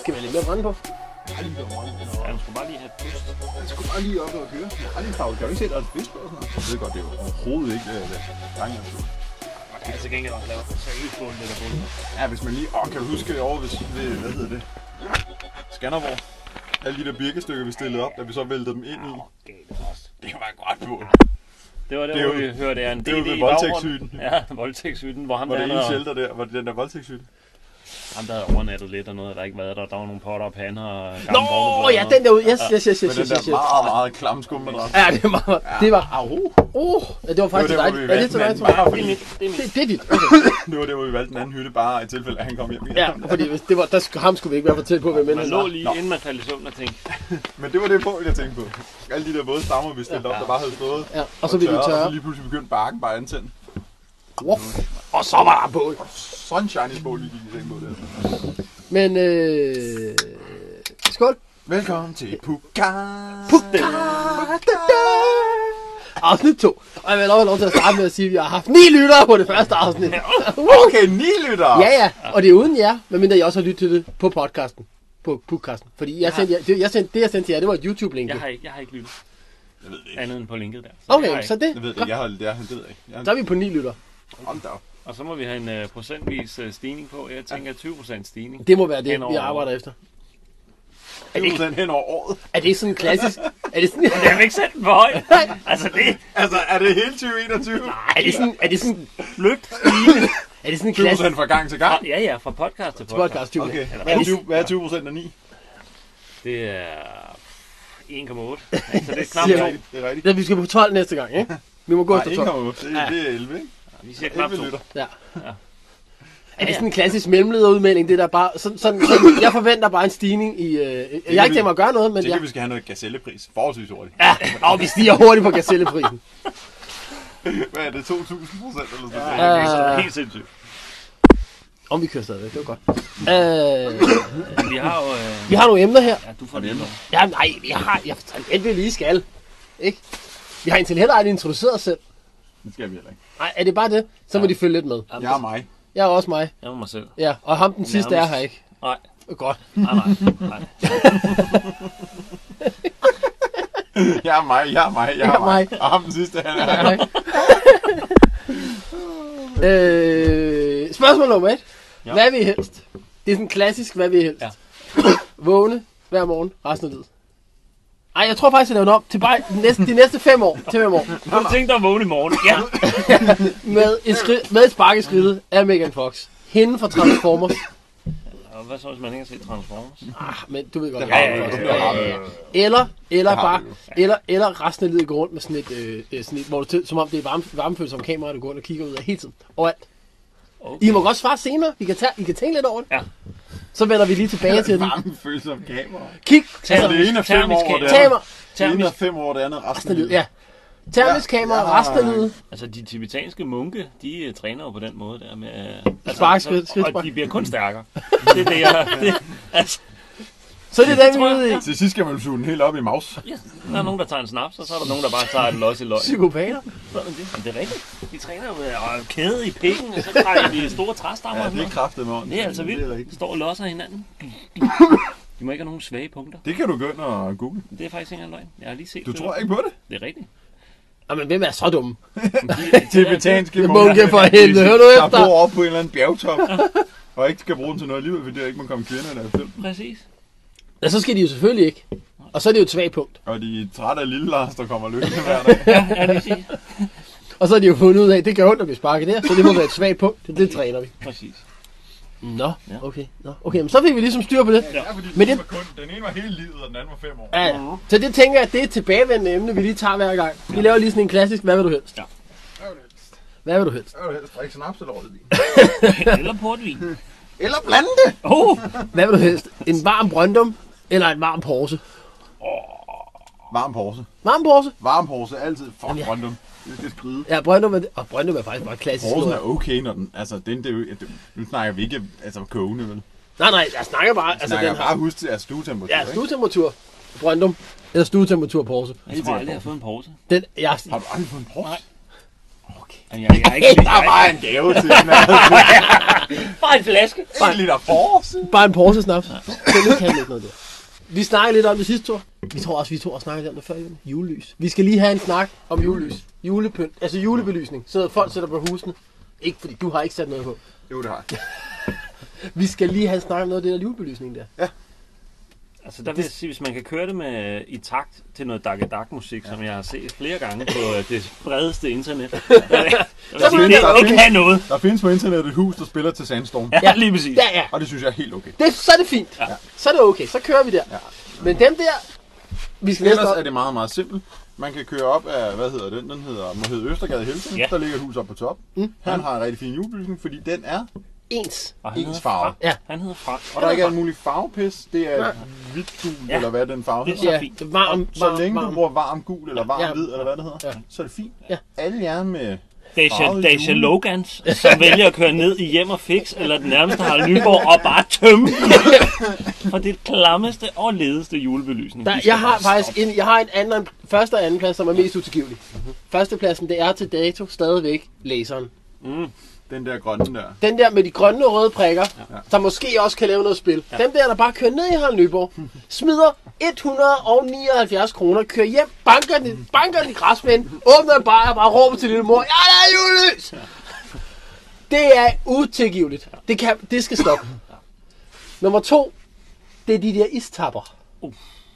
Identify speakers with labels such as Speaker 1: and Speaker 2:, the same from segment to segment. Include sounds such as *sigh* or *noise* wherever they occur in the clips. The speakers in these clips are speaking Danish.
Speaker 1: Skal vi have lidt mere brænde på?
Speaker 2: Ja, du skulle bare lige have et pust.
Speaker 3: Jeg skulle bare lige op og køre. Jeg har aldrig travlt. Kan du ikke se, der er et fisk på og sådan noget? Jeg ved godt, det er jo overhovedet ikke øh, det. Lange
Speaker 2: Man kan altså gengæld også lave seriøst bål lidt af bål.
Speaker 3: Ja, hvis man lige... Åh, kan du huske over ved, ved hvad hedder det? Skanderborg. Alle de der birkestykker, vi stillede op, da vi så væltede dem ind i.
Speaker 2: Galt også.
Speaker 3: Det var en godt bål.
Speaker 2: Det var det,
Speaker 3: Det er
Speaker 2: hvor
Speaker 3: jo-
Speaker 2: vi hørte af en
Speaker 3: det er jo
Speaker 2: DD
Speaker 3: ved
Speaker 2: i baggrunden.
Speaker 3: voldtægtshytten.
Speaker 2: Ja, voldtægtshytten, hvor ham
Speaker 3: Var
Speaker 2: der,
Speaker 3: det
Speaker 2: der,
Speaker 3: ene shelter der? Var det den der voldtægtshytte?
Speaker 2: ham der havde overnattet lidt og noget, der ikke været der. Der var nogle potter og pander og gamle
Speaker 1: Nå,
Speaker 2: borgerblad
Speaker 1: ja,
Speaker 2: og-
Speaker 1: den der ud. Yes, yes, yes,
Speaker 3: Med
Speaker 1: yes,
Speaker 3: den
Speaker 1: yes,
Speaker 3: der
Speaker 1: yes, yes.
Speaker 3: meget, meget klamme skummadræt.
Speaker 1: Ja, det var, det var,
Speaker 3: Au.
Speaker 1: oh, ja, det var faktisk
Speaker 3: Det
Speaker 1: dig.
Speaker 3: var der, hvor vi
Speaker 1: Ja, det er til dig,
Speaker 3: vandt,
Speaker 1: tror jeg.
Speaker 3: men-
Speaker 2: Det er mit, det er
Speaker 1: Det,
Speaker 2: mit.
Speaker 1: det er dit. Okay.
Speaker 3: Det var der, hvor vi valgte en anden hytte, bare i tilfælde, at han kom hjem igen.
Speaker 1: Ja, fordi hvis det var, der, sk- ham skulle vi ikke være for tæt på, hvem end
Speaker 2: Man
Speaker 1: han
Speaker 2: lå
Speaker 1: var.
Speaker 2: lige,
Speaker 3: Nå.
Speaker 2: inden man faldt i søvn og tænkte,
Speaker 3: Men det var det bål, jeg tænkte på. Alle de der våde stammer, vi stillede op, der bare havde stået.
Speaker 1: Ja, og så ville de
Speaker 3: Og
Speaker 1: tørre.
Speaker 3: så lige pludselig begyndte barken bare at antænde.
Speaker 1: Wuff. Og så var der bål.
Speaker 3: Sådan shiny bål, vi gik i seng på der.
Speaker 1: Men øh... Skål.
Speaker 3: Velkommen til Puka.
Speaker 1: Afsnit 2. Og jeg vil lov, lov til at starte med at sige, at vi har haft ni lyttere på det første afsnit.
Speaker 3: Okay, ni lytter.
Speaker 1: Ja, ja. Og det er uden jer, medmindre jeg også har lyttet til det på podcasten. På podcasten. Fordi jeg sendte, jer- det, jeg sendte, det, jeg sendte til jer, det var et YouTube-link.
Speaker 2: jeg har, ikke- jeg har ikke lyttet
Speaker 3: Jeg ved det ikke.
Speaker 2: andet end på linket der. Så det har
Speaker 1: Okay,
Speaker 2: jeg
Speaker 1: så
Speaker 2: ikke.
Speaker 1: det.
Speaker 3: Jeg ved det ikke. Jeg har det der, han ved ikke. Jeg
Speaker 1: Så er vi på ni lytter.
Speaker 3: Hold da op.
Speaker 2: Og så må vi have en uh, procentvis uh, stigning på. Jeg tænker 20% stigning.
Speaker 1: Det må være det, vi
Speaker 2: Henover.
Speaker 1: arbejder efter.
Speaker 3: Er det den hen over året?
Speaker 1: Er det sådan en klassisk? Er det sådan,
Speaker 2: Jeg vil ikke sætte den for højt. Altså det
Speaker 3: Altså, er det hele 2021?
Speaker 1: er det sådan, er det sådan,
Speaker 2: løb.
Speaker 1: er det sådan en
Speaker 3: 20
Speaker 1: klassisk
Speaker 3: fra gang til gang?
Speaker 2: Ja, ja, fra podcast til podcast.
Speaker 1: podcast? Julia?
Speaker 3: Okay,
Speaker 2: Eller
Speaker 3: hvad er
Speaker 2: hvad?
Speaker 3: 20, hvad er 20 procent af 9?
Speaker 2: Det er 1,8. ikke? Så Altså, det er knap
Speaker 1: Siger
Speaker 3: Det er
Speaker 2: 2.
Speaker 3: rigtigt. Det er rigtigt.
Speaker 1: Ja, vi skal på 12 næste gang, ikke? Vi må gå
Speaker 3: Nej,
Speaker 1: efter 12.
Speaker 3: 1,8. Det, er- det er 11, ikke?
Speaker 2: Vi siger knap
Speaker 3: 11
Speaker 2: 2.
Speaker 3: lytter.
Speaker 1: Ja. Er det sådan en klassisk mellemlederudmelding, det der bare... Sådan, sådan, sådan, jeg forventer bare en stigning i... Øh, jeg har ikke tænkt mig at gøre noget, men
Speaker 3: Det
Speaker 1: jeg...
Speaker 3: kan vi skal have noget gazellepris. Forholdsvis hurtigt.
Speaker 1: Ja, og vi stiger hurtigt på gazelleprisen.
Speaker 3: Hvad er det? 2.000 procent eller sådan
Speaker 2: Ja,
Speaker 3: noget?
Speaker 2: det er sådan helt sindssygt.
Speaker 1: Om vi kører stadigvæk, det var godt. Øh,
Speaker 2: Vi har jo... Øh,
Speaker 1: vi har nogle emner her.
Speaker 2: ja, du får det ændret.
Speaker 1: Ja, nej, vi har... Jeg fortalte, vi lige skal. Ikke? Vi har indtil heller aldrig introduceret os selv.
Speaker 3: Det skal vi heller ikke.
Speaker 1: Nej, er det bare det? Så må de følge lidt med.
Speaker 3: Jeg er mig.
Speaker 1: Jeg er også mig.
Speaker 2: Jeg var mig selv.
Speaker 1: Ja, og ham den sidste er
Speaker 2: Nærmest.
Speaker 1: her ikke.
Speaker 2: Nej,
Speaker 1: Godt.
Speaker 2: nej, nej. nej.
Speaker 3: Jeg er mig, jeg er mig, jeg
Speaker 1: Jeg
Speaker 3: er
Speaker 1: er
Speaker 3: mig.
Speaker 1: mig.
Speaker 3: Og ham den sidste, han er
Speaker 1: Nej. øh, spørgsmål nummer et.
Speaker 2: Ja.
Speaker 1: Hvad vil I helst? Det er sådan klassisk, hvad vil I helst?
Speaker 2: Ja.
Speaker 1: *coughs* Vågne hver morgen resten af livet. Ej, jeg tror faktisk, jeg laver den om til bare de næste, de næste fem år, til fem år,
Speaker 2: Du tænkte dig at vågne i morgen. Ja,
Speaker 1: med et, skri, med et spark i skridtet af Megan Fox. Hende fra Transformers.
Speaker 2: Og hvad så, hvis man ikke har set Transformers?
Speaker 1: Ah, men du ved godt,
Speaker 3: Ja,
Speaker 1: hvad
Speaker 3: ja,
Speaker 1: jeg mener.
Speaker 3: ja, ja,
Speaker 1: Eller, eller
Speaker 3: Det har
Speaker 1: bare,
Speaker 3: vi jo.
Speaker 1: eller, eller resten af livet går rundt med sådan et, øh, øh, sådan et hvor du til, som om det er varme, varmefølelse om kameraet, du går rundt og kigger ud af hele tiden. Overalt.
Speaker 2: Okay.
Speaker 1: I må godt svare senere. I kan, tage, I kan tænke lidt over det.
Speaker 2: Ja.
Speaker 1: Så vender vi lige tilbage til den.
Speaker 3: Varme følelse om kamera.
Speaker 1: Kig, Altså,
Speaker 3: Så
Speaker 2: Termisk-
Speaker 3: det ene er fem
Speaker 2: termisk
Speaker 3: år, det
Speaker 2: kamera.
Speaker 3: er.
Speaker 1: tamer,
Speaker 3: Det ene er
Speaker 2: Termisk.
Speaker 3: fem år, det andet er resten af
Speaker 1: resten af livet.
Speaker 3: livet.
Speaker 1: Ja. Termisk
Speaker 3: Ja,
Speaker 1: kamera,
Speaker 3: jeg har-
Speaker 1: resten af livet.
Speaker 2: Altså, de tibetanske munke, de øh, træner jo på den måde der med... øh, Altså,
Speaker 1: Spark, skridt, skridt,
Speaker 2: og
Speaker 1: spark.
Speaker 2: de bliver kun stærkere. Det er det,
Speaker 3: *laughs*
Speaker 2: jeg... Det, altså,
Speaker 1: Så det er den, vi
Speaker 2: tror
Speaker 1: er ude i.
Speaker 2: jeg.
Speaker 3: Til sidst skal man jo suge den helt op i maus.
Speaker 2: ja, der er nogen, der tager en snaps, og så er der nogen, der bare tager et los i løg.
Speaker 1: Psykopater.
Speaker 2: Sådan det. Men det er rigtigt. De træner jo med øh, kæde i pikken, og så trækker de store træstammer.
Speaker 3: Ja,
Speaker 2: Ja,
Speaker 3: det er kraftet med
Speaker 2: det er altså
Speaker 3: Det,
Speaker 2: vildt. De
Speaker 3: rigtigt.
Speaker 2: står og losser hinanden. De må ikke have nogen svage punkter.
Speaker 3: det kan du gå ind og google.
Speaker 2: Det er faktisk ikke engang løgn. Jeg har lige set
Speaker 3: Du
Speaker 2: det.
Speaker 3: tror ikke på det?
Speaker 2: Det er rigtigt.
Speaker 1: Jamen, hvem er så dumme?
Speaker 3: Tibetanske
Speaker 1: Det er munke for helvede. Hør nu
Speaker 3: der
Speaker 1: efter.
Speaker 3: bor oppe på en eller anden bjergtop. *laughs* og ikke skal bruge den til noget alligevel, fordi der ikke må komme kvinder der film.
Speaker 2: Præcis.
Speaker 1: Ja, så skal de jo selvfølgelig ikke. Og så er det jo et svagt punkt.
Speaker 3: Og de er trætte af lille Lars, der kommer løbende hver dag.
Speaker 2: Ja, det vil sige.
Speaker 1: Og så har de jo fundet ud af, at det gør ondt at blive sparket der, så det må være et svagt punkt. Det, det træner vi.
Speaker 3: *laughs*
Speaker 2: Præcis.
Speaker 1: Nå,
Speaker 2: Ja.
Speaker 1: okay. Nå. Okay, men så fik vi ligesom styr på det.
Speaker 3: *laughs* Ja, fordi
Speaker 1: Men
Speaker 3: den,
Speaker 1: det-
Speaker 3: ene var kun, den ene var hele livet, og den anden var fem år.
Speaker 1: Ja, ja. Så det tænker jeg, at det er et tilbagevendende emne, vi lige tager hver gang. Vi laver lige sådan en klassisk, hvad vil du helst?
Speaker 2: Ja.
Speaker 3: Hvad vil du helst?
Speaker 1: Hvad vil du helst?
Speaker 3: Hvad vil du helst? Drikke snaps eller rødvin?
Speaker 2: Eller portvin.
Speaker 3: Eller blande det!
Speaker 2: Oh!
Speaker 1: Hvad vil du helst? En varm brøndum eller en varm porse?
Speaker 3: Varm pause.
Speaker 1: Varm porse?
Speaker 3: Varm pause, altid. Fuck, random. Det skal skride.
Speaker 1: Ja, Brøndum er, og Brøndum er faktisk bare klassisk.
Speaker 3: Horsens
Speaker 1: historie.
Speaker 3: er okay, når den... Altså, den, det er jo, at det- nu snakker vi ikke altså, kogende, vel? Vi
Speaker 1: Nej, nej, jeg snakker bare.
Speaker 3: altså,
Speaker 1: Altså,
Speaker 3: snakker
Speaker 1: den
Speaker 3: den
Speaker 1: har,
Speaker 3: bare husk til altså, stuetemperatur,
Speaker 1: ja, stuetemperatur. Brøndum. Eller stuetemperatur Porse.
Speaker 2: Jeg tror aldrig, jeg har fået en pause.
Speaker 1: Den, jeg,
Speaker 3: Har du aldrig fået en port?
Speaker 2: Nej. Jeg, jeg, jeg, ikke,
Speaker 3: Der var en gave til en
Speaker 2: bare en flaske.
Speaker 3: en liter force.
Speaker 1: bare en Porse snaps. Den kan ikke noget der. Vi snakkede lidt om det sidste tur. Vi tror også, vi to har snakket om det før, Jon. Julelys. Vi skal lige have en snak om julelys. Julepynt. Altså julebelysning. Så folk sætter på husene. Ikke fordi du har ikke sat noget på.
Speaker 3: Jo, det har jeg.
Speaker 1: Vi skal lige have en snak om noget af det der julebelysning der.
Speaker 2: Altså, der vil jeg sige, hvis man kan køre det med i takt til noget dak dak musik som jeg har set flere gange på øh, det bredeste internet,
Speaker 3: *laughs*
Speaker 2: så vil
Speaker 3: man-
Speaker 2: sige, det er okay have noget.
Speaker 3: Der findes på internettet et hus, der spiller til Sandstorm.
Speaker 2: Ja, lige præcis.
Speaker 1: Ja, ja.
Speaker 3: Og det synes jeg er helt okay.
Speaker 1: Det, så er det fint. Ja. Så er det okay. Så kører vi der.
Speaker 3: Ja.
Speaker 1: Men dem der... Vi skal
Speaker 3: Ellers er
Speaker 1: næste
Speaker 3: det meget, meget simpelt. Man kan køre op af, hvad hedder den? Den hedder, må hedde Østergade i Helsinge.
Speaker 2: Ja.
Speaker 3: Der ligger et hus oppe på top. Han har en rigtig fin julebelysning, fordi den er
Speaker 1: ens.
Speaker 2: Og han
Speaker 3: ens
Speaker 2: hedder
Speaker 3: farve.
Speaker 2: Frank.
Speaker 1: Ja.
Speaker 2: Han hedder Frank.
Speaker 3: Og der er ikke alt muligt farvepis. Det er hvidt gul,
Speaker 2: Ja.
Speaker 3: eller hvad den farve hedder.
Speaker 2: Det er
Speaker 1: Ja,
Speaker 2: fint.
Speaker 1: varm, varm,
Speaker 3: Så længe du
Speaker 1: varm.
Speaker 3: bruger varm gul, eller varm
Speaker 1: Ja.
Speaker 3: hvid, eller hvad det hedder,
Speaker 1: Ja.
Speaker 3: så er det fint.
Speaker 1: Ja.
Speaker 3: Alle jer med...
Speaker 2: Dacia,
Speaker 3: Farvet
Speaker 2: Dacia
Speaker 3: jule.
Speaker 2: Logans, som vælger at køre ned i hjem og fix, eller den nærmeste har Nyborg, og bare
Speaker 1: *laughs*
Speaker 2: tømme. For det er det klammeste og ledeste julebelysning.
Speaker 1: Der,
Speaker 2: Vi skal
Speaker 1: jeg har
Speaker 2: bare
Speaker 1: faktisk en, jeg har en anden, første og anden plads, som er mest utilgivelig. Førstepladsen, det er til dato stadigvæk laseren.
Speaker 3: Den der grønne der.
Speaker 1: Den der med de grønne og røde prikker, ja. der måske også kan lave noget spil. Ja. Dem der, der bare kører ned i Harald *laughs* Nyborg, smider 179 kroner, kører hjem, banker den, banker den i græsplænen, åbner en bajer og bare råber til lille mor, ja, der er julelys! Det er utilgiveligt. Det, kan, det skal *laughs* stoppe. Nummer to, det er de der istapper.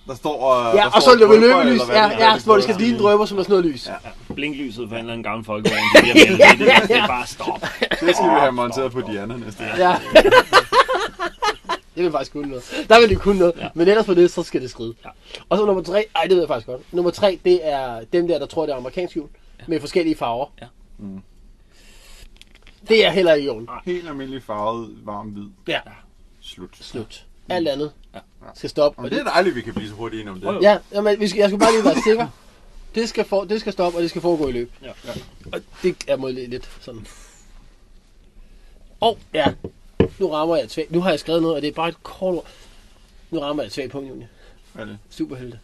Speaker 3: Der står... Uh,
Speaker 1: Ja,
Speaker 3: der
Speaker 1: og
Speaker 3: står
Speaker 1: så
Speaker 3: et drøber,
Speaker 1: løbelys,
Speaker 3: eller hvad
Speaker 1: ja,
Speaker 3: det hedder,
Speaker 1: ja, hvor det skal
Speaker 3: drøber.
Speaker 1: ligne drøber, som der sådan noget lys.
Speaker 2: stoppe Blinklyset for en eller anden gammel folkevogn, de bliver meldt ned. det, det, det er bare stop.
Speaker 3: Det skal vi have monteret på Diana næste gang.
Speaker 1: Ja. det vil faktisk kunne noget. Der vil det kunne noget. Ja. Men ellers på det, så skal det skride. Ja. Og så nummer tre. Ej, det ved jeg faktisk godt. Nummer tre, det er dem der, der tror, det er amerikansk jul. Ja. Med forskellige farver.
Speaker 2: Ja.
Speaker 1: Mm. Det er heller ikke jorden.
Speaker 3: Helt almindelig farvet, varm hvid.
Speaker 1: Ja.
Speaker 3: Slut.
Speaker 1: Slut. Alt andet ja. skal stoppe.
Speaker 3: Og det er dejligt, at vi kan blive så hurtigt enige om det.
Speaker 2: Jo, jo.
Speaker 1: Ja, jamen, vi skal, jeg skulle bare lige være sikker. Det skal, for, det skal stoppe, og det skal foregå i løb.
Speaker 2: Ja, ja.
Speaker 1: Og det er mod lidt sådan. Og ja, nu rammer jeg et svagt. Nu har jeg skrevet noget, og det er bare et kort ord. Nu rammer jeg et svagt punkt, Julie.
Speaker 3: Hvad er det?
Speaker 1: Superhelte.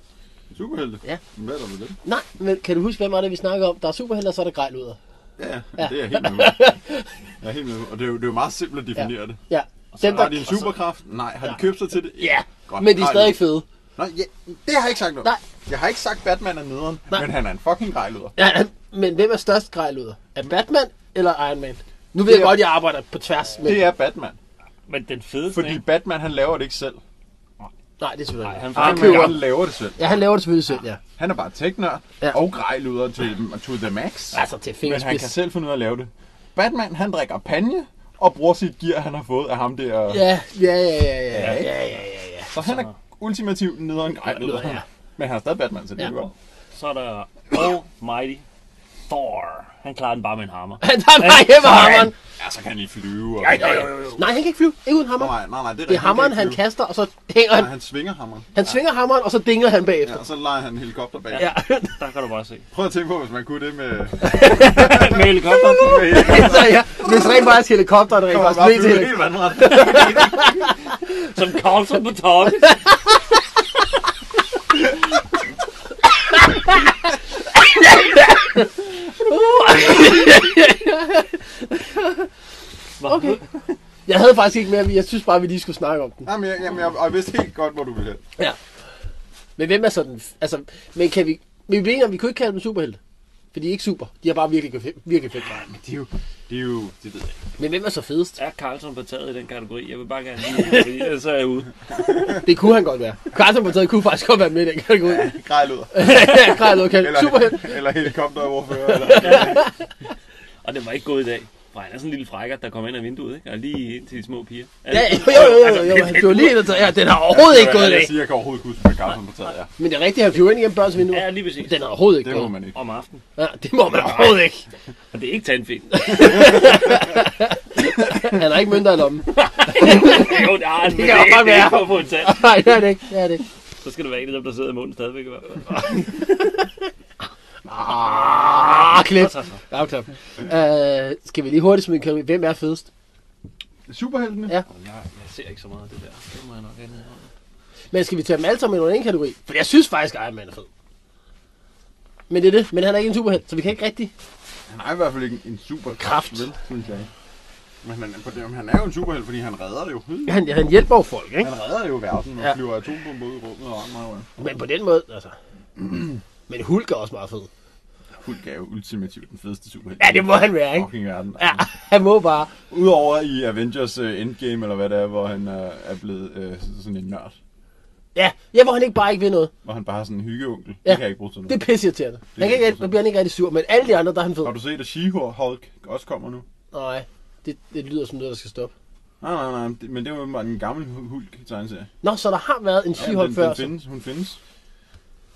Speaker 3: Superhelte?
Speaker 1: Ja.
Speaker 3: Hvad er der med det?
Speaker 1: Nej, men kan du huske, hvem var det, vi snakkede om? Der er superhelte, og så er der grejluder.
Speaker 3: Ja, ja, det er jeg helt med
Speaker 1: *laughs*
Speaker 3: på. Jeg er helt med på. Og det er jo, det er jo meget simpelt at definere det.
Speaker 1: Ja, dem
Speaker 3: Har
Speaker 1: der...
Speaker 3: de en superkraft? Nej. Har de købt sig til det?
Speaker 1: Ja, men de er
Speaker 3: Nej,
Speaker 1: stadig fede.
Speaker 3: Nå, ja, det har jeg ikke sagt noget.
Speaker 1: Nej.
Speaker 3: Jeg har ikke sagt, Batman er nederen,
Speaker 1: Nej.
Speaker 3: men han er en fucking grejleder.
Speaker 1: Ja, men hvem er størst grejluder? Er Batman eller Iron Man? Nu ved jeg
Speaker 3: Det er-
Speaker 1: godt, jeg arbejder på tværs, men...
Speaker 3: Det er Batman.
Speaker 2: Men den fedeste,
Speaker 3: Fordi
Speaker 2: ikke?
Speaker 3: Batman, han laver det ikke selv.
Speaker 1: Nej, det er selvfølgelig
Speaker 2: han
Speaker 1: ikke.
Speaker 2: får
Speaker 1: Han
Speaker 2: ikke-
Speaker 1: køber...
Speaker 3: han laver det selv.
Speaker 1: Ja, han laver det selvfølgelig selv, ja.
Speaker 3: Han er bare teknør
Speaker 1: Ja.
Speaker 3: og grejleder til, to the max.
Speaker 1: Altså, til
Speaker 3: men han
Speaker 1: fingerspids.
Speaker 3: kan selv finde ud af at lave det. Batman, han drikker panje og bruger sit gear, han har fået af ham der.
Speaker 1: Ja, ja, ja, ja, ja,
Speaker 3: ikke?
Speaker 1: ja, ja, ja, ja.
Speaker 3: Så han er ultimativt nederen grejleder.
Speaker 1: Ja.
Speaker 3: Men han er stadig Batman, så det
Speaker 1: Ja.
Speaker 3: er jo godt.
Speaker 2: så er der Almighty Thor. Han klarer den bare med en hammer.
Speaker 1: Han tager bare hjem af hammeren.
Speaker 3: Ja, så kan Altså, han lige flyve. Og...
Speaker 1: Nej, han kan ikke flyve. Ikke uden hammer.
Speaker 3: Nej, nej, nej, det er,
Speaker 1: Det er hammeren, han kaster, og så hænger han.
Speaker 3: Nej, han svinger hammeren.
Speaker 1: Han svinger hammeren, og så dinger han
Speaker 3: Ja,
Speaker 1: bagefter.
Speaker 3: og så leger han en helikopter bag.
Speaker 1: Ja.
Speaker 2: Der kan du bare se.
Speaker 3: Prøv at tænke på, hvis man kunne det med...
Speaker 1: *laughs*
Speaker 2: Med helikopter.
Speaker 3: med helikopter.
Speaker 1: så Altså, ja, hvis rent faktisk helikopteren rent
Speaker 3: Kommer han
Speaker 1: faktisk blev
Speaker 3: bare
Speaker 1: til
Speaker 3: flyve
Speaker 1: helikopter.
Speaker 3: helt vandret.
Speaker 2: Som Carlson på
Speaker 1: *laughs*
Speaker 2: toppen.
Speaker 1: Uh! Okay. Jeg havde faktisk ikke mere, men jeg synes bare, vi lige skulle snakke om den.
Speaker 3: Jamen, jeg, jamen, jeg, og jeg vidste helt godt, hvor du ville hen.
Speaker 1: Ja. Men hvem er sådan... Altså, men kan vi... Men vi mener, vi kunne ikke kalde dem superhelte. For de er ikke super. De har bare virkelig, fe- virkelig fedt grej.
Speaker 3: Men det er jo... Det er jo... Det ved jeg ikke.
Speaker 1: Men hvem er så fedest?
Speaker 2: Er Carlson på taget i den kategori? Jeg vil bare gerne lide,
Speaker 1: *laughs*
Speaker 2: fordi ellers så er jeg ude.
Speaker 1: Det kunne han godt være. Carlsen på taget kunne faktisk godt være med i den kategori.
Speaker 3: Grejløder.
Speaker 1: Grej, okay.
Speaker 3: Eller,
Speaker 1: Superhelte.
Speaker 3: *laughs* eller helikopteroverfører. Eller...
Speaker 2: Og det var ikke gået i dag. For han er sådan en lille frækker, der kommer ind af vinduet, ikke? Og lige ind til de små piger. Altså,
Speaker 1: Ja, jo, jo, jo, jo,
Speaker 3: Altså-
Speaker 1: jo. Det var lige det, ja, den har overhovedet ikke gået i dag.
Speaker 3: Jeg siger, jeg kan overhovedet ikke huske, hvad Carlsen på taget er.
Speaker 1: Men det er rigtigt, han flyver ind igennem børns vindue.
Speaker 2: Ja, lige præcis.
Speaker 1: Den har overhovedet ikke
Speaker 3: Det må
Speaker 1: gået.
Speaker 3: man ikke.
Speaker 2: Om aftenen.
Speaker 1: Ja, det må man overhovedet ikke.
Speaker 2: Og det er ikke *laughs* tandfilm.
Speaker 1: Han har ikke mønter i lommen.
Speaker 2: jo, det har han, men
Speaker 1: Det
Speaker 2: det,
Speaker 1: kan
Speaker 2: det,
Speaker 1: godt være.
Speaker 2: er ikke- det er ikke for at få en tand.
Speaker 1: Nej, det er det ikke. Det er det ikke.
Speaker 2: Så skal det være en af dem, der sidder i munden stadigvæk i hvert fald.
Speaker 1: Ah, klip.
Speaker 2: Så, så, så.
Speaker 1: Ja, klip. Øh, skal vi lige hurtigt smide en kategori? Hvem er fedest?
Speaker 3: Superheltene?
Speaker 1: Ja.
Speaker 2: Jeg, jeg ser ikke så meget af det der. Det må jeg nok have
Speaker 1: Men skal vi tage dem alle sammen under en kategori? For jeg synes faktisk, Iron Man er fed. Men det er det. Men han er ikke en superhelt, så vi kan ikke rigtig...
Speaker 3: Han har i hvert fald ikke en super
Speaker 1: Kraft.
Speaker 3: vel, synes jeg. Men han, på det, han er jo en superhelt, fordi han redder det jo.
Speaker 1: Han, han hjælper jo folk, ikke?
Speaker 3: Han redder jo verden og
Speaker 1: Ja.
Speaker 3: ja. flyver atombomber ud i rummet og armer. Og
Speaker 1: Men på den måde, altså... *clears throat* Men Hulk er også meget fed.
Speaker 3: Hulk er jo ultimativt den fedeste superhelt.
Speaker 1: Ja, det må han være, ikke?
Speaker 3: fucking verden.
Speaker 1: Ja, *laughs* han må bare.
Speaker 3: Udover i Avengers uh, Endgame, eller hvad det er, hvor han uh, er blevet uh, sådan en nørd.
Speaker 1: Ja, ja, hvor han ikke bare ikke vil noget.
Speaker 3: Hvor han bare har sådan en hyggeonkel.
Speaker 1: Ja.
Speaker 3: Det kan jeg ikke bruge til noget.
Speaker 1: Det er pisseirriterende. Han kan ikke, der bliver han ikke rigtig sur, men alle de andre, der er han fed.
Speaker 3: Har du set, at She-Hulk også kommer nu?
Speaker 1: Nej, det, det lyder som noget, der skal stoppe.
Speaker 3: Nej, nej, nej, det- men det var jo bare en gammel hu- Hulk-tegneserie.
Speaker 1: Nå, så der har været en
Speaker 3: Ja,
Speaker 1: She-Hulk
Speaker 3: den,
Speaker 1: før.
Speaker 3: den
Speaker 1: så-
Speaker 3: findes, hun findes.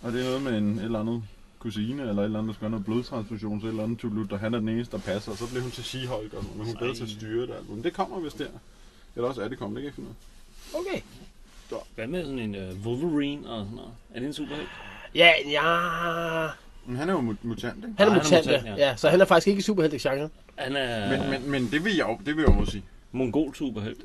Speaker 3: Og det er noget med en et eller andet kusine, eller et eller andet, der skal have noget blodtransfusion, så et eller andet tulut, og han er den eneste, der passer. Og så bliver hun til She-Hulk, og men hun er bedre til at styre det. og alt muligt. Men det kommer vist der. Eller også er det kommet, det kan jeg ikke finde ud af.
Speaker 1: Okay.
Speaker 2: Hvad med sådan en øh, Wolverine og sådan noget? Er det en superhelt?
Speaker 1: Ja, ja.
Speaker 3: Men han er jo mut- mutant, ikke?
Speaker 1: Han er
Speaker 2: Nej,
Speaker 1: mutant, ja. ja. Så han er faktisk ikke i superhelte genre.
Speaker 2: Han er
Speaker 3: Men, men, men det vil jeg jo, det vil jeg jo sige.
Speaker 1: *laughs*
Speaker 2: mongol superhelt.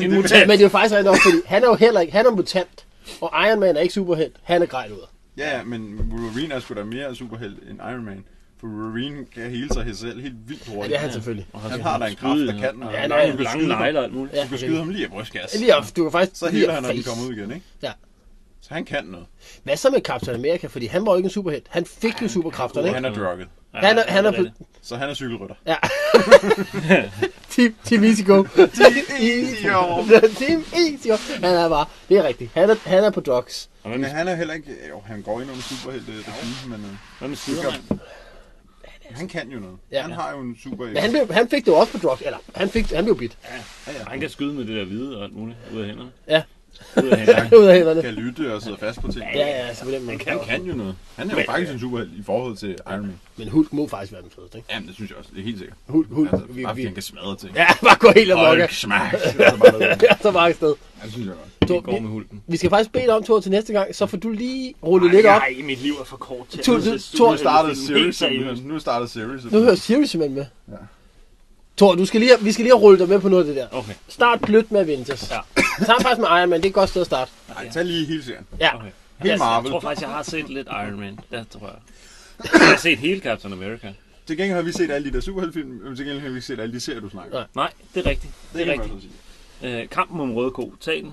Speaker 2: en mutant.
Speaker 1: Men det er jo faktisk rigtig nok, fordi han er jo heller ikke, han er mutant. Og Iron Man er ikke superhelt. Han er grej ud.
Speaker 3: Ja, ja, men Wolverine er sgu da mere superhelt end Iron Man. For Wolverine kan hele sig selv helt vildt
Speaker 1: Ja,
Speaker 3: hurtigt.
Speaker 1: det er han selvfølgelig.
Speaker 2: Og har
Speaker 3: Han
Speaker 2: sådan
Speaker 3: har da en kraft,
Speaker 2: skud,
Speaker 3: der kan.
Speaker 2: og
Speaker 1: Ja,
Speaker 2: ja,
Speaker 1: nej,
Speaker 2: lange,
Speaker 1: han
Speaker 2: lange
Speaker 3: skyder.
Speaker 2: negler og alt muligt.
Speaker 1: Ja,
Speaker 3: Du kan skyde ham lige i brystkassen.
Speaker 1: Lige op, du kan faktisk
Speaker 3: Så
Speaker 1: lige
Speaker 3: hele
Speaker 1: op
Speaker 3: han, når den
Speaker 1: face.
Speaker 3: kommer ud igen, ikke?
Speaker 1: Ja.
Speaker 3: Så han kan noget.
Speaker 1: Hvad så med Captain America? Fordi han var jo ikke en superhelt. Han fik jo superkræfterne,
Speaker 3: Og
Speaker 1: ikke?
Speaker 3: han er drugget.
Speaker 2: Ja,
Speaker 1: Han er- han er
Speaker 2: det det.
Speaker 3: Så han er cykelrytter.
Speaker 1: Ja. team, team Easy Go. *laughs* team Easy
Speaker 3: Go.
Speaker 1: team Easy Go. Han er bare, det er rigtigt. Han er, han er på drugs.
Speaker 2: Og hvad
Speaker 3: Men
Speaker 2: med,
Speaker 3: han er heller ikke... Jo, han går ind under superhelt regime, men øh,
Speaker 2: hvad med Superman?
Speaker 3: han kan jo noget.
Speaker 1: Ja.
Speaker 3: Ja. Han har jo en super...
Speaker 1: Men han, blev, han fik det jo også på drugs. Eller, han, fik, han blev bidt.
Speaker 2: Han kan skyde med det der hvide og alt muligt ud af hænderne.
Speaker 1: Ja.
Speaker 2: Ud af
Speaker 1: *laughs*
Speaker 2: hænderne.
Speaker 1: Ud af hænderne.
Speaker 3: kan lytte og sidde fast på ting.
Speaker 1: Ja, ja, så på den måde.
Speaker 3: Han kan jo noget. Han er jo
Speaker 2: Men-
Speaker 3: faktisk en superhelt i forhold til Iron Man.
Speaker 1: Men Hulk må faktisk være den fedeste, ikke?
Speaker 3: Jamen, det synes jeg også. Det er helt sikkert.
Speaker 1: Hulk, Hulk.
Speaker 3: Altså,
Speaker 1: vi,
Speaker 3: bare fordi han
Speaker 1: vi,
Speaker 3: kan smadre ting.
Speaker 1: ja, *laughs* bare gå helt amok.
Speaker 3: Hulk, smash! Altså, bare noget.
Speaker 1: Ja, så bare afsted.
Speaker 3: Ja, det synes jeg godt.
Speaker 1: Så,
Speaker 2: Vi går
Speaker 1: vi,
Speaker 2: med hulten.
Speaker 1: vi skal faktisk bede dig om, Thor, til næste gang. Så får du lige rullet lidt op.
Speaker 2: Nej, mit liv er for kort til.
Speaker 1: Thor-
Speaker 2: at-
Speaker 1: Thor
Speaker 3: Nu startede
Speaker 2: Helt
Speaker 3: series.
Speaker 2: seriøst.
Speaker 3: Nu startede series.
Speaker 1: Nu hører Sirius simpelthen med.
Speaker 3: Ja.
Speaker 1: Thor, du skal lige, vi skal lige rulle dig med på noget af det der.
Speaker 2: Okay.
Speaker 1: Start blødt med Avengers. Ja.
Speaker 2: Ja.
Speaker 1: Sammen faktisk med Iron Man, det er et godt sted at starte.
Speaker 3: Nej, tag lige hele serien.
Speaker 1: Ja.
Speaker 2: Okay.
Speaker 3: Helt
Speaker 2: Jeg
Speaker 3: Marvel.
Speaker 2: tror faktisk, jeg har set lidt Iron Man. Det tror
Speaker 1: *coughs*
Speaker 2: jeg. Jeg har set hele Captain America.
Speaker 3: Til gengæld har vi set alle de der superheltfilm, men til gengæld har vi ikke set alle de serier, du snakker.
Speaker 1: Nej.
Speaker 3: om.
Speaker 2: Nej, det er rigtigt. Det
Speaker 3: Det
Speaker 2: er
Speaker 3: kan man
Speaker 2: rigtigt.
Speaker 3: så sige.
Speaker 2: Øh, kampen om Røde Ko. Tag den.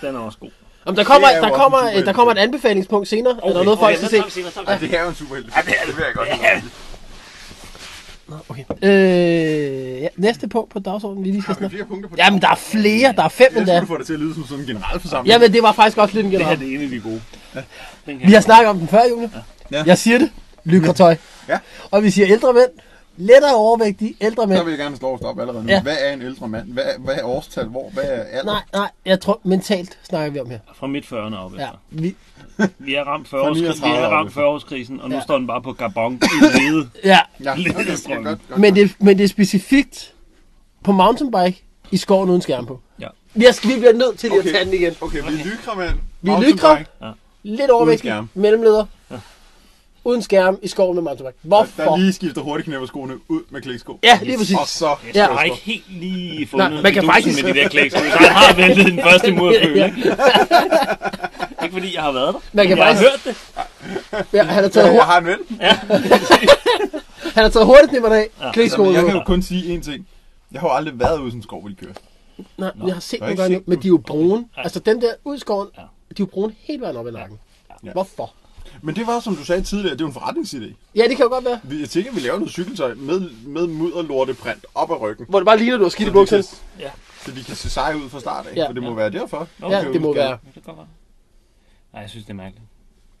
Speaker 2: Den er også god.
Speaker 1: Jamen, *laughs* der kommer,
Speaker 3: Det er jo
Speaker 1: der
Speaker 3: også
Speaker 1: kommer,
Speaker 3: en superhelt.
Speaker 1: der kommer et anbefalingspunkt senere, okay. der er noget, folk skal se.
Speaker 3: Ej, det er jo en superheltfilm. Ja, det vil jeg godt.
Speaker 1: Okay. Øh, ja, næste punkt på dagsordenen, vi lige skal
Speaker 3: Har vi
Speaker 1: snakke.
Speaker 3: flere punkter på det?
Speaker 1: Jamen, der er flere, der er fem
Speaker 3: Jeg
Speaker 1: endda.
Speaker 3: skulle få det til at lyde som sådan en generalforsamling.
Speaker 1: Jamen, det var faktisk også lidt en
Speaker 2: Det her
Speaker 1: general.
Speaker 2: det er en af de gode. Den
Speaker 1: Vi
Speaker 2: kan
Speaker 1: har snakket om den før, Julie.
Speaker 3: Ja.
Speaker 1: Jeg siger det. Lykretøj.
Speaker 3: Ja.
Speaker 1: Og vi siger ældre mænd. Lettere overvægtige ældre
Speaker 3: Så
Speaker 1: mænd.
Speaker 3: vil jeg gerne slå og stoppe allerede nu.
Speaker 1: Ja.
Speaker 3: Hvad er en ældre mand? Hvad er, hvad er årstal? Hvor? Hvad er alder?
Speaker 1: Nej, nej, jeg tror mentalt snakker vi om
Speaker 3: Altså.
Speaker 1: her.
Speaker 2: fra midt 40'erne op
Speaker 1: Ja,
Speaker 2: efter.
Speaker 1: vi,
Speaker 2: Vi har ramt
Speaker 3: Fra
Speaker 2: 40-årskrisen, vi
Speaker 3: 39
Speaker 2: har
Speaker 3: op
Speaker 2: ramt
Speaker 3: efter.
Speaker 2: 40-årskrisen, og nu
Speaker 1: Ja.
Speaker 2: står den bare på Gabon i lede.
Speaker 1: ja.
Speaker 3: Ja,
Speaker 2: Lidt
Speaker 3: okay,
Speaker 2: strøm.
Speaker 3: godt, godt.
Speaker 1: Men, det, men det er specifikt på mountainbike i skoven uden skærm på.
Speaker 2: Ja.
Speaker 1: Vi, har, vi bliver nødt til lige at
Speaker 3: Okay.
Speaker 1: tage den igen.
Speaker 3: Okay, vi er lykra, mand.
Speaker 1: Vi er lykra.
Speaker 3: Mountainbike.
Speaker 1: Lidt overvægtig,
Speaker 3: skærm.
Speaker 1: mellemleder, uden skærm i skoven med mountainbike.
Speaker 3: Der, der
Speaker 1: Hvorfor?
Speaker 3: lige skifter hurtigknæpperskoene ud med kliksko.
Speaker 1: Ja, lige præcis.
Speaker 3: Og så...
Speaker 1: Ja.
Speaker 2: Jeg har ikke helt lige fundet
Speaker 1: Nej,
Speaker 2: Nej,
Speaker 1: man kan faktisk-
Speaker 2: med de der klæks. Så jeg har ventet den første mur
Speaker 1: *laughs*
Speaker 2: at køle. Ikke fordi jeg har været der.
Speaker 1: Man kan
Speaker 2: jeg
Speaker 1: faktisk-
Speaker 2: har hørt det.
Speaker 1: Ja, han har taget,
Speaker 3: Jeg, jeg
Speaker 1: hurtigt,
Speaker 3: har en ven.
Speaker 1: han har taget hurtigt nimmerne af. Ja.
Speaker 3: Jamen,
Speaker 1: Klikskolen
Speaker 3: Altså, jeg
Speaker 1: ud.
Speaker 3: kan jo kun sige én ting. Jeg har jo aldrig været ude i sådan en skov, hvor de kører.
Speaker 1: Nej, men jeg har set
Speaker 3: Nå,
Speaker 1: nogle
Speaker 3: jeg har
Speaker 1: gange,
Speaker 3: ikke set
Speaker 1: men de er jo brune.
Speaker 2: Ja.
Speaker 1: Altså dem der ud i skoven, de
Speaker 2: Ja.
Speaker 1: er jo brune hele vejen op ad nakken.
Speaker 3: Ja.
Speaker 1: Hvorfor?
Speaker 3: Men det var, som du sagde tidligere, det er jo en forretningsidé.
Speaker 1: Ja, det kan jo godt være.
Speaker 3: Vi- Jeg tænker, vi laver noget cykeltøj med, med mudderlorteprint op ad ryggen.
Speaker 1: Hvor det bare ligner, du har skidt i
Speaker 3: Så de kan,
Speaker 1: bukserne.
Speaker 2: Ja.
Speaker 3: så de kan se seje ud fra start af.
Speaker 1: Ja.
Speaker 3: Ja. For det må være derfor.
Speaker 1: Ja,
Speaker 3: de
Speaker 1: det må
Speaker 3: kører
Speaker 1: være.
Speaker 2: Det
Speaker 3: udskæring.
Speaker 2: kan godt være. Nej, jeg synes, det er mærkeligt.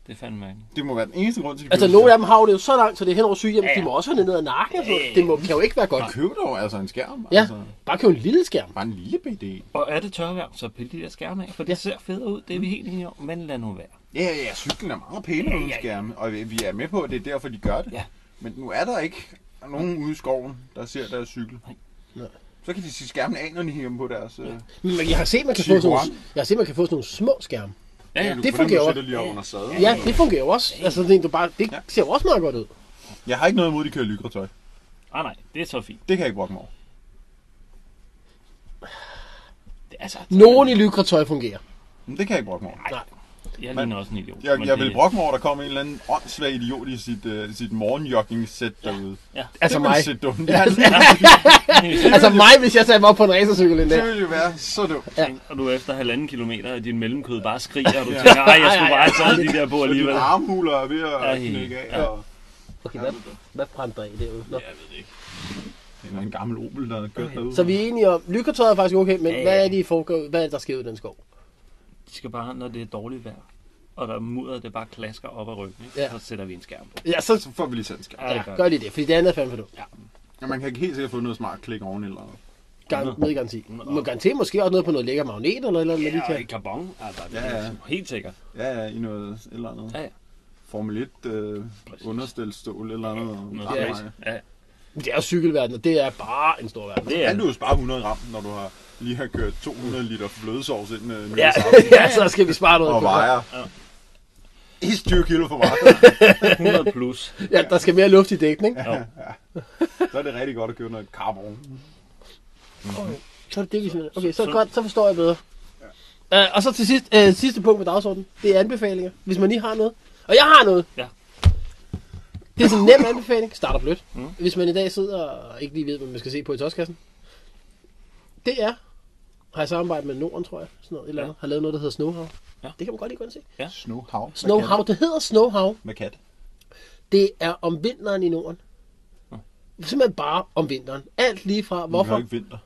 Speaker 2: Det er fandme mærkeligt.
Speaker 3: Det må være den eneste grund til, at de
Speaker 1: Altså,
Speaker 3: køber
Speaker 1: nogle
Speaker 3: det.
Speaker 1: af dem har jo det jo så langt, så det er hen over sygehjem.
Speaker 2: Ja, ja.
Speaker 1: De må også have ned ad nakken. og sådan noget.
Speaker 2: Ja, ja.
Speaker 1: Det må, kan jo ikke være godt.
Speaker 3: Køb dog altså en skærm.
Speaker 1: Ja,
Speaker 3: Altså,
Speaker 1: bare køb en lille skærm.
Speaker 3: bare en lille BD.
Speaker 2: Og er det tørvejr, så pille de der skærme af, for det ser fedt ud. Det er vi helt enige om, men lad nu være.
Speaker 3: Ja, ja, cyklen er meget pænere
Speaker 2: Ja,
Speaker 3: uden
Speaker 2: ja, ja.
Speaker 3: skærme. Og vi- vi er med på, at det er derfor, de gør det.
Speaker 2: Ja.
Speaker 3: Men nu er der ikke nogen ude i skoven, der ser deres cykel.
Speaker 1: Nej.
Speaker 3: Så kan de sige skærmen af, når de hænger dem på deres... øh,
Speaker 1: Men jeg har set, man kan få sådan nogle,
Speaker 3: Tiguan.
Speaker 1: jeg har set, man kan få sådan nogle små skærme.
Speaker 2: Ja, ja.
Speaker 1: Det
Speaker 3: Du- på den måde
Speaker 1: fungerer
Speaker 3: sætter
Speaker 1: også.
Speaker 3: lige over under sadlen.
Speaker 1: Ja, det fungerer også. Altså, det, er jo bare, det
Speaker 3: Ja.
Speaker 1: ser jo også meget godt ud.
Speaker 3: Jeg har ikke noget imod, at de kører lykretøj.
Speaker 2: Ah, nej, det er så fint.
Speaker 3: Det kan jeg ikke brokke mig over.
Speaker 2: Det, altså,
Speaker 1: Nogen i lykretøj fungerer.
Speaker 3: Men det kan jeg ikke brokke mig over.
Speaker 2: Jeg ligner også en idiot.
Speaker 3: Jeg,
Speaker 2: men
Speaker 3: jeg
Speaker 2: det-
Speaker 3: vil brokke mig over, at der kom en eller anden åndssvag idiot i sit, uh, sit morgenjogging-sæt derude.
Speaker 2: Ja.
Speaker 1: Altså
Speaker 3: det
Speaker 1: mig.
Speaker 3: ville se dumt. Ja, det,
Speaker 1: Altså mig, hvis jeg satte mig op på en racercykel en dag.
Speaker 3: det ville jo være så dumt.
Speaker 2: Og du efter halvanden kilometer, og din mellemkød bare skriger, og du tænker, nej, jeg skulle bare have taget de der på
Speaker 3: Og
Speaker 2: alligevel.
Speaker 3: dine armhuler er ved
Speaker 2: Ej,
Speaker 3: at knække af.
Speaker 2: ja.
Speaker 3: Og...
Speaker 1: Okay, hvad, hvad brændte der af derude? Nå.
Speaker 2: Jeg ved det ikke.
Speaker 3: Det er en gammel Opel, der er kørt derude.
Speaker 1: Så vi er enige om, lykretøjet er faktisk okay, men
Speaker 2: Ja, ja.
Speaker 1: hvad er det, I foregår? Hvad er det, der sker ud i den skov?
Speaker 2: De skal bare, når det er dårligt vejr, og der er mudder, det bare klasker op ad ryggen, ikke?
Speaker 1: Ja.
Speaker 2: så sætter vi en skærm på.
Speaker 1: Ja, så
Speaker 3: Så får vi lige sat en skærm.
Speaker 2: Ja, det gør
Speaker 1: gør de det, fordi det andet er fandme for dumt.
Speaker 3: Ja, man kan helt sikkert få noget smart klik oven eller noget.
Speaker 1: Gar- med garanti. Med garanti måske også noget på noget lækker magnet eller noget, eller andet,
Speaker 2: Ja,
Speaker 1: ja,
Speaker 2: og i carbon, altså, det
Speaker 3: Ja,
Speaker 2: er
Speaker 3: ja.
Speaker 2: helt sikkert.
Speaker 3: Ja, ja, i noget et eller andet.
Speaker 2: Ja, ja.
Speaker 3: Formel 1 øh, understelstål eller noget.
Speaker 2: Noget
Speaker 3: Ja,
Speaker 2: plads.
Speaker 3: ja.
Speaker 2: ja.
Speaker 1: Det er jo cykelverdenen, og det er bare en stor verden.
Speaker 2: Det er
Speaker 3: Kan du jo spare 100 gram, når du har lige har kørt 200 liter flødesovs ind øh,
Speaker 1: Ja,
Speaker 3: nytårsaften?
Speaker 1: *laughs* ja, så skal vi spare noget.
Speaker 3: og
Speaker 1: på-
Speaker 3: vejer. Ja. 20 kilo for meget.
Speaker 2: 100 plus.
Speaker 1: Ja, der skal mere luft i dækken, ikke?
Speaker 2: Jo.
Speaker 3: så er det rigtig godt at købe noget carbon.
Speaker 1: Så er det det, vi simpelthen... Okay, så er det godt, så forstår jeg bedre. Uh, og så til sidst, uh, sidste punkt på dagsordenen, det er anbefalinger, hvis man lige har noget. Og jeg har noget.
Speaker 2: Ja.
Speaker 1: Det er sådan en nem anbefaling, starter blødt. Mm. Hvis man i dag sidder og ikke lige ved, hvad man skal se på i tøjskassen. Det er, har jeg samarbejdet med Norden, tror jeg, sådan noget, et eller
Speaker 2: Ja.
Speaker 1: andet, har lavet noget, der hedder Snowhow.
Speaker 2: Ja.
Speaker 1: Det kan man godt lige gå ind og se.
Speaker 3: Snowhav.
Speaker 1: Snowhow, det hedder Snowhow.
Speaker 3: Med kat.
Speaker 1: Det er om vinteren i Norden. Simpelthen bare om vinteren. Alt lige fra,
Speaker 3: Hvorfor? Vi har
Speaker 1: hvorfor.
Speaker 3: ikke vinter.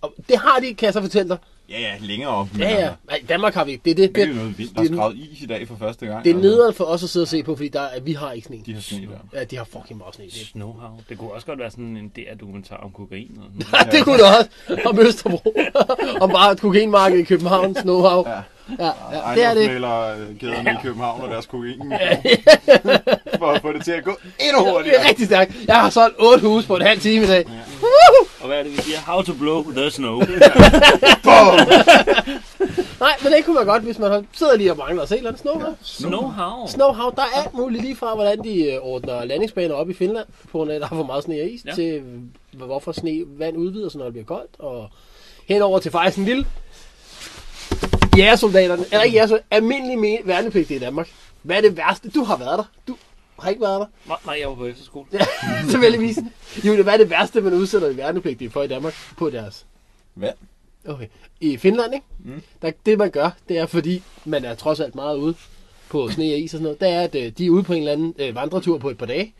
Speaker 1: Og det har de, kan jeg så fortælle dig.
Speaker 3: Ja, ja, længere op. men
Speaker 1: Ja, ja.
Speaker 3: altså,
Speaker 1: Nej, i Danmark har vi ikke. Det, det,
Speaker 3: Det er jo
Speaker 1: det,
Speaker 3: noget vildt. Der er skrevet is i dag for første gang.
Speaker 1: det er
Speaker 3: altså.
Speaker 1: nederen for os at sidde og se på, fordi der, er- vi har ikke sne.
Speaker 3: De har sne der.
Speaker 1: Ja, de har fucking meget sne. *laughs* Det,
Speaker 2: Snowhow. Det kunne også godt være sådan en DR-dokumentar om kokain. Og sådan.
Speaker 1: ja. det kunne det også. Om Østerbro. *laughs* om bare et kokainmarked i København, Snowhav. Ja,
Speaker 3: Ja.
Speaker 1: ja, ja. det er det.
Speaker 3: Ejendomsmælerkæderne øh, i København og deres kokain. *laughs* for at få det til at gå endnu
Speaker 1: Det er
Speaker 3: hurtigere.
Speaker 1: rigtig stærkt. Jeg har solgt otte huse på en halv time i dag.
Speaker 2: Og hvad er det, vi siger? How to blow the snow.
Speaker 3: *laughs*
Speaker 1: Nej, men det kunne være godt, hvis man sidder lige og mangler at se et eller andet Snowhav.
Speaker 2: Snowhow.
Speaker 1: Snowhav, der er alt muligt lige fra, hvordan de øh, ordner landingsbaner op i Finland, på grund af, at der er for meget sne og is, ja.
Speaker 2: Ja.
Speaker 1: til øh, hvorfor sne, vand udvider sig, når det bliver koldt, og henover til faktisk en lille jægersoldaterne, eller ikke jægersoldaterne, almindelig me- værnepligtige i Danmark. Hvad er det værste? Du har været der. Du har ikke været der.
Speaker 2: Nej, nej, jeg var på efterskole.
Speaker 1: Ja, Tilfældigvis. Julie, hvad er det værste, man udsætter de værnepligtige for i Danmark på deres
Speaker 3: Vand.
Speaker 1: Okay. I Finland, ikke? Mm. Der, det man gør, det er fordi, man er trods alt meget ude på sne og is og sådan noget, det er, at øh, de er ude på en eller anden øh, vandretur på et par dage.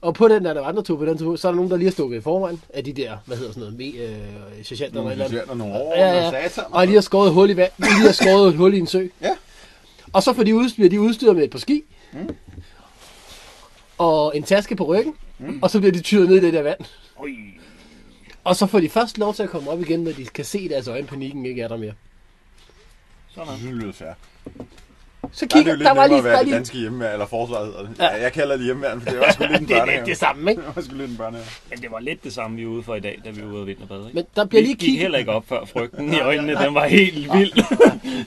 Speaker 1: Og på den der, der vandretur på den tur, så er der nogen, der lige har stukket i forvejen af de der, hvad hedder sådan noget, me, øh, sergeanter eller et
Speaker 3: Nogle
Speaker 1: eller andet.
Speaker 3: budgetter, nogle år,
Speaker 1: Ja, ja. Og de har skåret et hul i vand. De har skåret et hul i en sø.
Speaker 3: Ja.
Speaker 1: Og så får de udstyr, de er udstyret med et par ski. Mm. Og en taske på ryggen. Mm. Og så bliver de tyret ned i det der vand.
Speaker 2: Oj.
Speaker 1: Og så får de først lov til at komme op igen, når de kan se i deres øjne, panikken ikke er der mere.
Speaker 2: Sådan.
Speaker 3: Jeg synes, det lyder fair.
Speaker 1: Så
Speaker 3: Der er det
Speaker 1: kigger,
Speaker 3: jo lidt
Speaker 1: var
Speaker 3: nemmere
Speaker 1: lige,
Speaker 3: at være
Speaker 1: der
Speaker 3: det
Speaker 1: lige,
Speaker 3: danske hjemmeværn, eller forsvaret hedder det.
Speaker 1: Ja.
Speaker 3: Ja, jeg kalder det hjemmeværn, for det var sgu lidt en
Speaker 1: det, er
Speaker 3: børnehave.
Speaker 1: det, det samme, ikke?
Speaker 3: Det var sgu lidt en børnehave.
Speaker 2: Men det var lidt det samme, vi var ude for i dag, da vi var ude og vinterbade. Ikke?
Speaker 1: Men der bliver
Speaker 2: Vi
Speaker 1: lige
Speaker 2: gik
Speaker 1: kigget,
Speaker 2: heller ikke op før frygten i øjnene. Den var helt vild.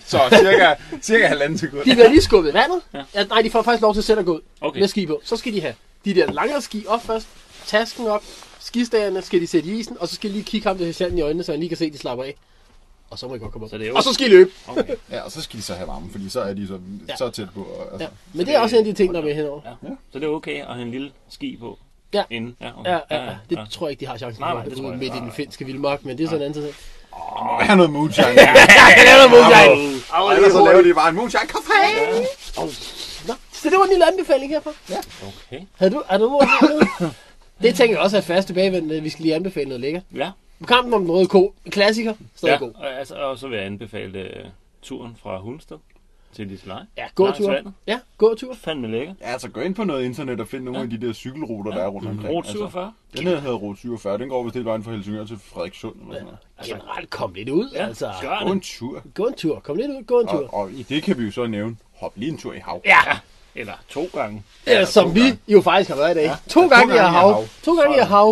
Speaker 3: Så cirka, cirka halvanden sekund.
Speaker 1: de bliver lige skubbet i vandet. Ja.
Speaker 2: Ja.
Speaker 1: Ja, nej, de får faktisk lov til selv at gå ud okay.
Speaker 2: Okay.
Speaker 1: med ski på. Så skal de have de der langere ski op først, tasken op, skistagerne skal de sætte i isen, og så skal de lige kigge ham til patienten i øjnene, så han lige kan se, at de slapper af. Og så må I godt komme op.
Speaker 2: Så det er jo-
Speaker 1: og så skal I løbe.
Speaker 2: Okay.
Speaker 3: Ja, og så skal de så have varme, fordi så er de så,
Speaker 1: Ja.
Speaker 3: så tæt på. og- Altså.
Speaker 1: Ja. Men det er også en af de ting, der er med henover.
Speaker 2: Ja. Så det er okay at have en lille ski på
Speaker 1: Ja.
Speaker 2: inden. Ja, okay.
Speaker 1: Ja, ja, ja. Det tror jeg ikke, de har chancen
Speaker 2: Nej,
Speaker 1: for.
Speaker 2: nej, det
Speaker 1: ude
Speaker 2: tror jeg
Speaker 1: midt
Speaker 2: ikke.
Speaker 1: i den finske vildmark, men det er sådan en anden ting.
Speaker 3: Der må være noget moonshine.
Speaker 2: Au,
Speaker 3: Og ellers så laver de bare en moonshine kaffe.
Speaker 1: Nå, så det var en lille anbefaling herfra.
Speaker 2: Okay.
Speaker 1: Havde du, er du noget? Det tænker jeg også er fast tilbagevendende. Vi skal lige anbefale noget lækkert.
Speaker 2: Ja.
Speaker 1: Kampen om den røde ko. En Klassiker. Stadig
Speaker 2: ja.
Speaker 1: ja. god.
Speaker 2: Og, altså, og så vil jeg anbefale øh, turen fra Hundested til Lisleje.
Speaker 1: Ja,
Speaker 2: Langs
Speaker 1: gåtur.
Speaker 2: vandet.
Speaker 1: Ja, gåtur.
Speaker 2: Fandme lækker.
Speaker 3: Ja, altså gå ind på noget internet og find nogle af de der cykelruter, der er rundt omkring.
Speaker 2: Rute 47.
Speaker 3: Altså, den her hedder Rute 47, den går vist hele vejen fra Helsingør til Frederikssund. Eller sådan noget.
Speaker 1: Generelt kom lidt ud,
Speaker 2: Ja,
Speaker 1: altså.
Speaker 2: gør
Speaker 3: Gå en
Speaker 2: det.
Speaker 3: tur.
Speaker 1: Gå en tur. Kom lidt ud, gå en tur.
Speaker 3: Og, og, i det kan vi jo så nævne, hop lige en tur i hav.
Speaker 1: Ja,
Speaker 2: Eller to gange.
Speaker 1: ja som vi jo faktisk har været i dag. To
Speaker 3: Ja, to
Speaker 1: gange i
Speaker 3: gange i
Speaker 1: hav.
Speaker 3: hav.
Speaker 1: To gange i hav.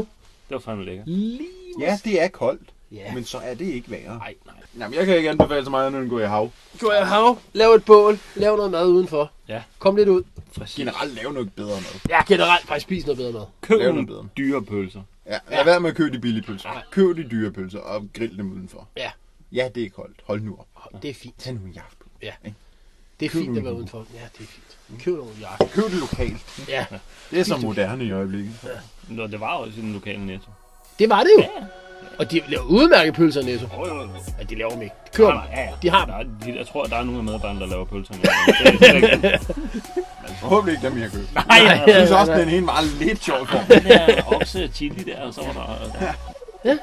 Speaker 2: Det var fandme lækker.
Speaker 1: Lige.
Speaker 3: Ja, det er koldt,
Speaker 1: Ja.
Speaker 3: men så er det ikke værre.
Speaker 2: Nej, nej.
Speaker 3: Jamen, jeg kan ikke anbefale så meget andet end at gå i hav.
Speaker 1: Gå i hav, lav et bål, lav noget mad udenfor.
Speaker 2: Ja.
Speaker 1: Kom lidt ud.
Speaker 2: Præcis.
Speaker 3: Generelt lave noget bedre mad.
Speaker 1: Ja, generelt bare spis noget bedre mad.
Speaker 2: Køb
Speaker 3: Lav
Speaker 2: nogle
Speaker 3: noget bedre.
Speaker 2: dyre pølser.
Speaker 3: Ja, lad være med at købe de billige pølser. Køb de dyre pølser og grill dem udenfor.
Speaker 1: Ja,
Speaker 3: Ja, det er koldt. Hold nu op.
Speaker 1: det er fint.
Speaker 3: Tag nu en jakke på.
Speaker 1: Det er
Speaker 3: Køb
Speaker 1: fint at
Speaker 3: nogle
Speaker 1: være
Speaker 3: jakker.
Speaker 1: udenfor. Ja, det er fint. Køb nogle jakker.
Speaker 3: Køb det lokalt.
Speaker 1: Ja,
Speaker 3: Det er så moderne i øjeblikket.
Speaker 2: Nå, det var også i den lokale netto.
Speaker 1: det var det jo. Og de laver udmærket pølser, Netto.
Speaker 2: Åh, jo, jo.
Speaker 1: Ja, de laver dem ikke. De køber dem.
Speaker 2: Ja, ja.
Speaker 1: De har
Speaker 2: Der
Speaker 1: dem.
Speaker 2: er, de, jeg tror, der er nogle af medarbejderne, der laver pølser. *laughs* Det
Speaker 1: *laughs*
Speaker 2: er ikke-
Speaker 3: Forhåbentlig ikke dem, jeg køber.
Speaker 2: Nej,
Speaker 3: Jeg synes også, den ene var lidt sjov for.
Speaker 2: den der okse og chili der, og så var der...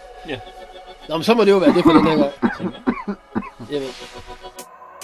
Speaker 1: Nå, men så må det jo være det for den her gang. Jeg ved.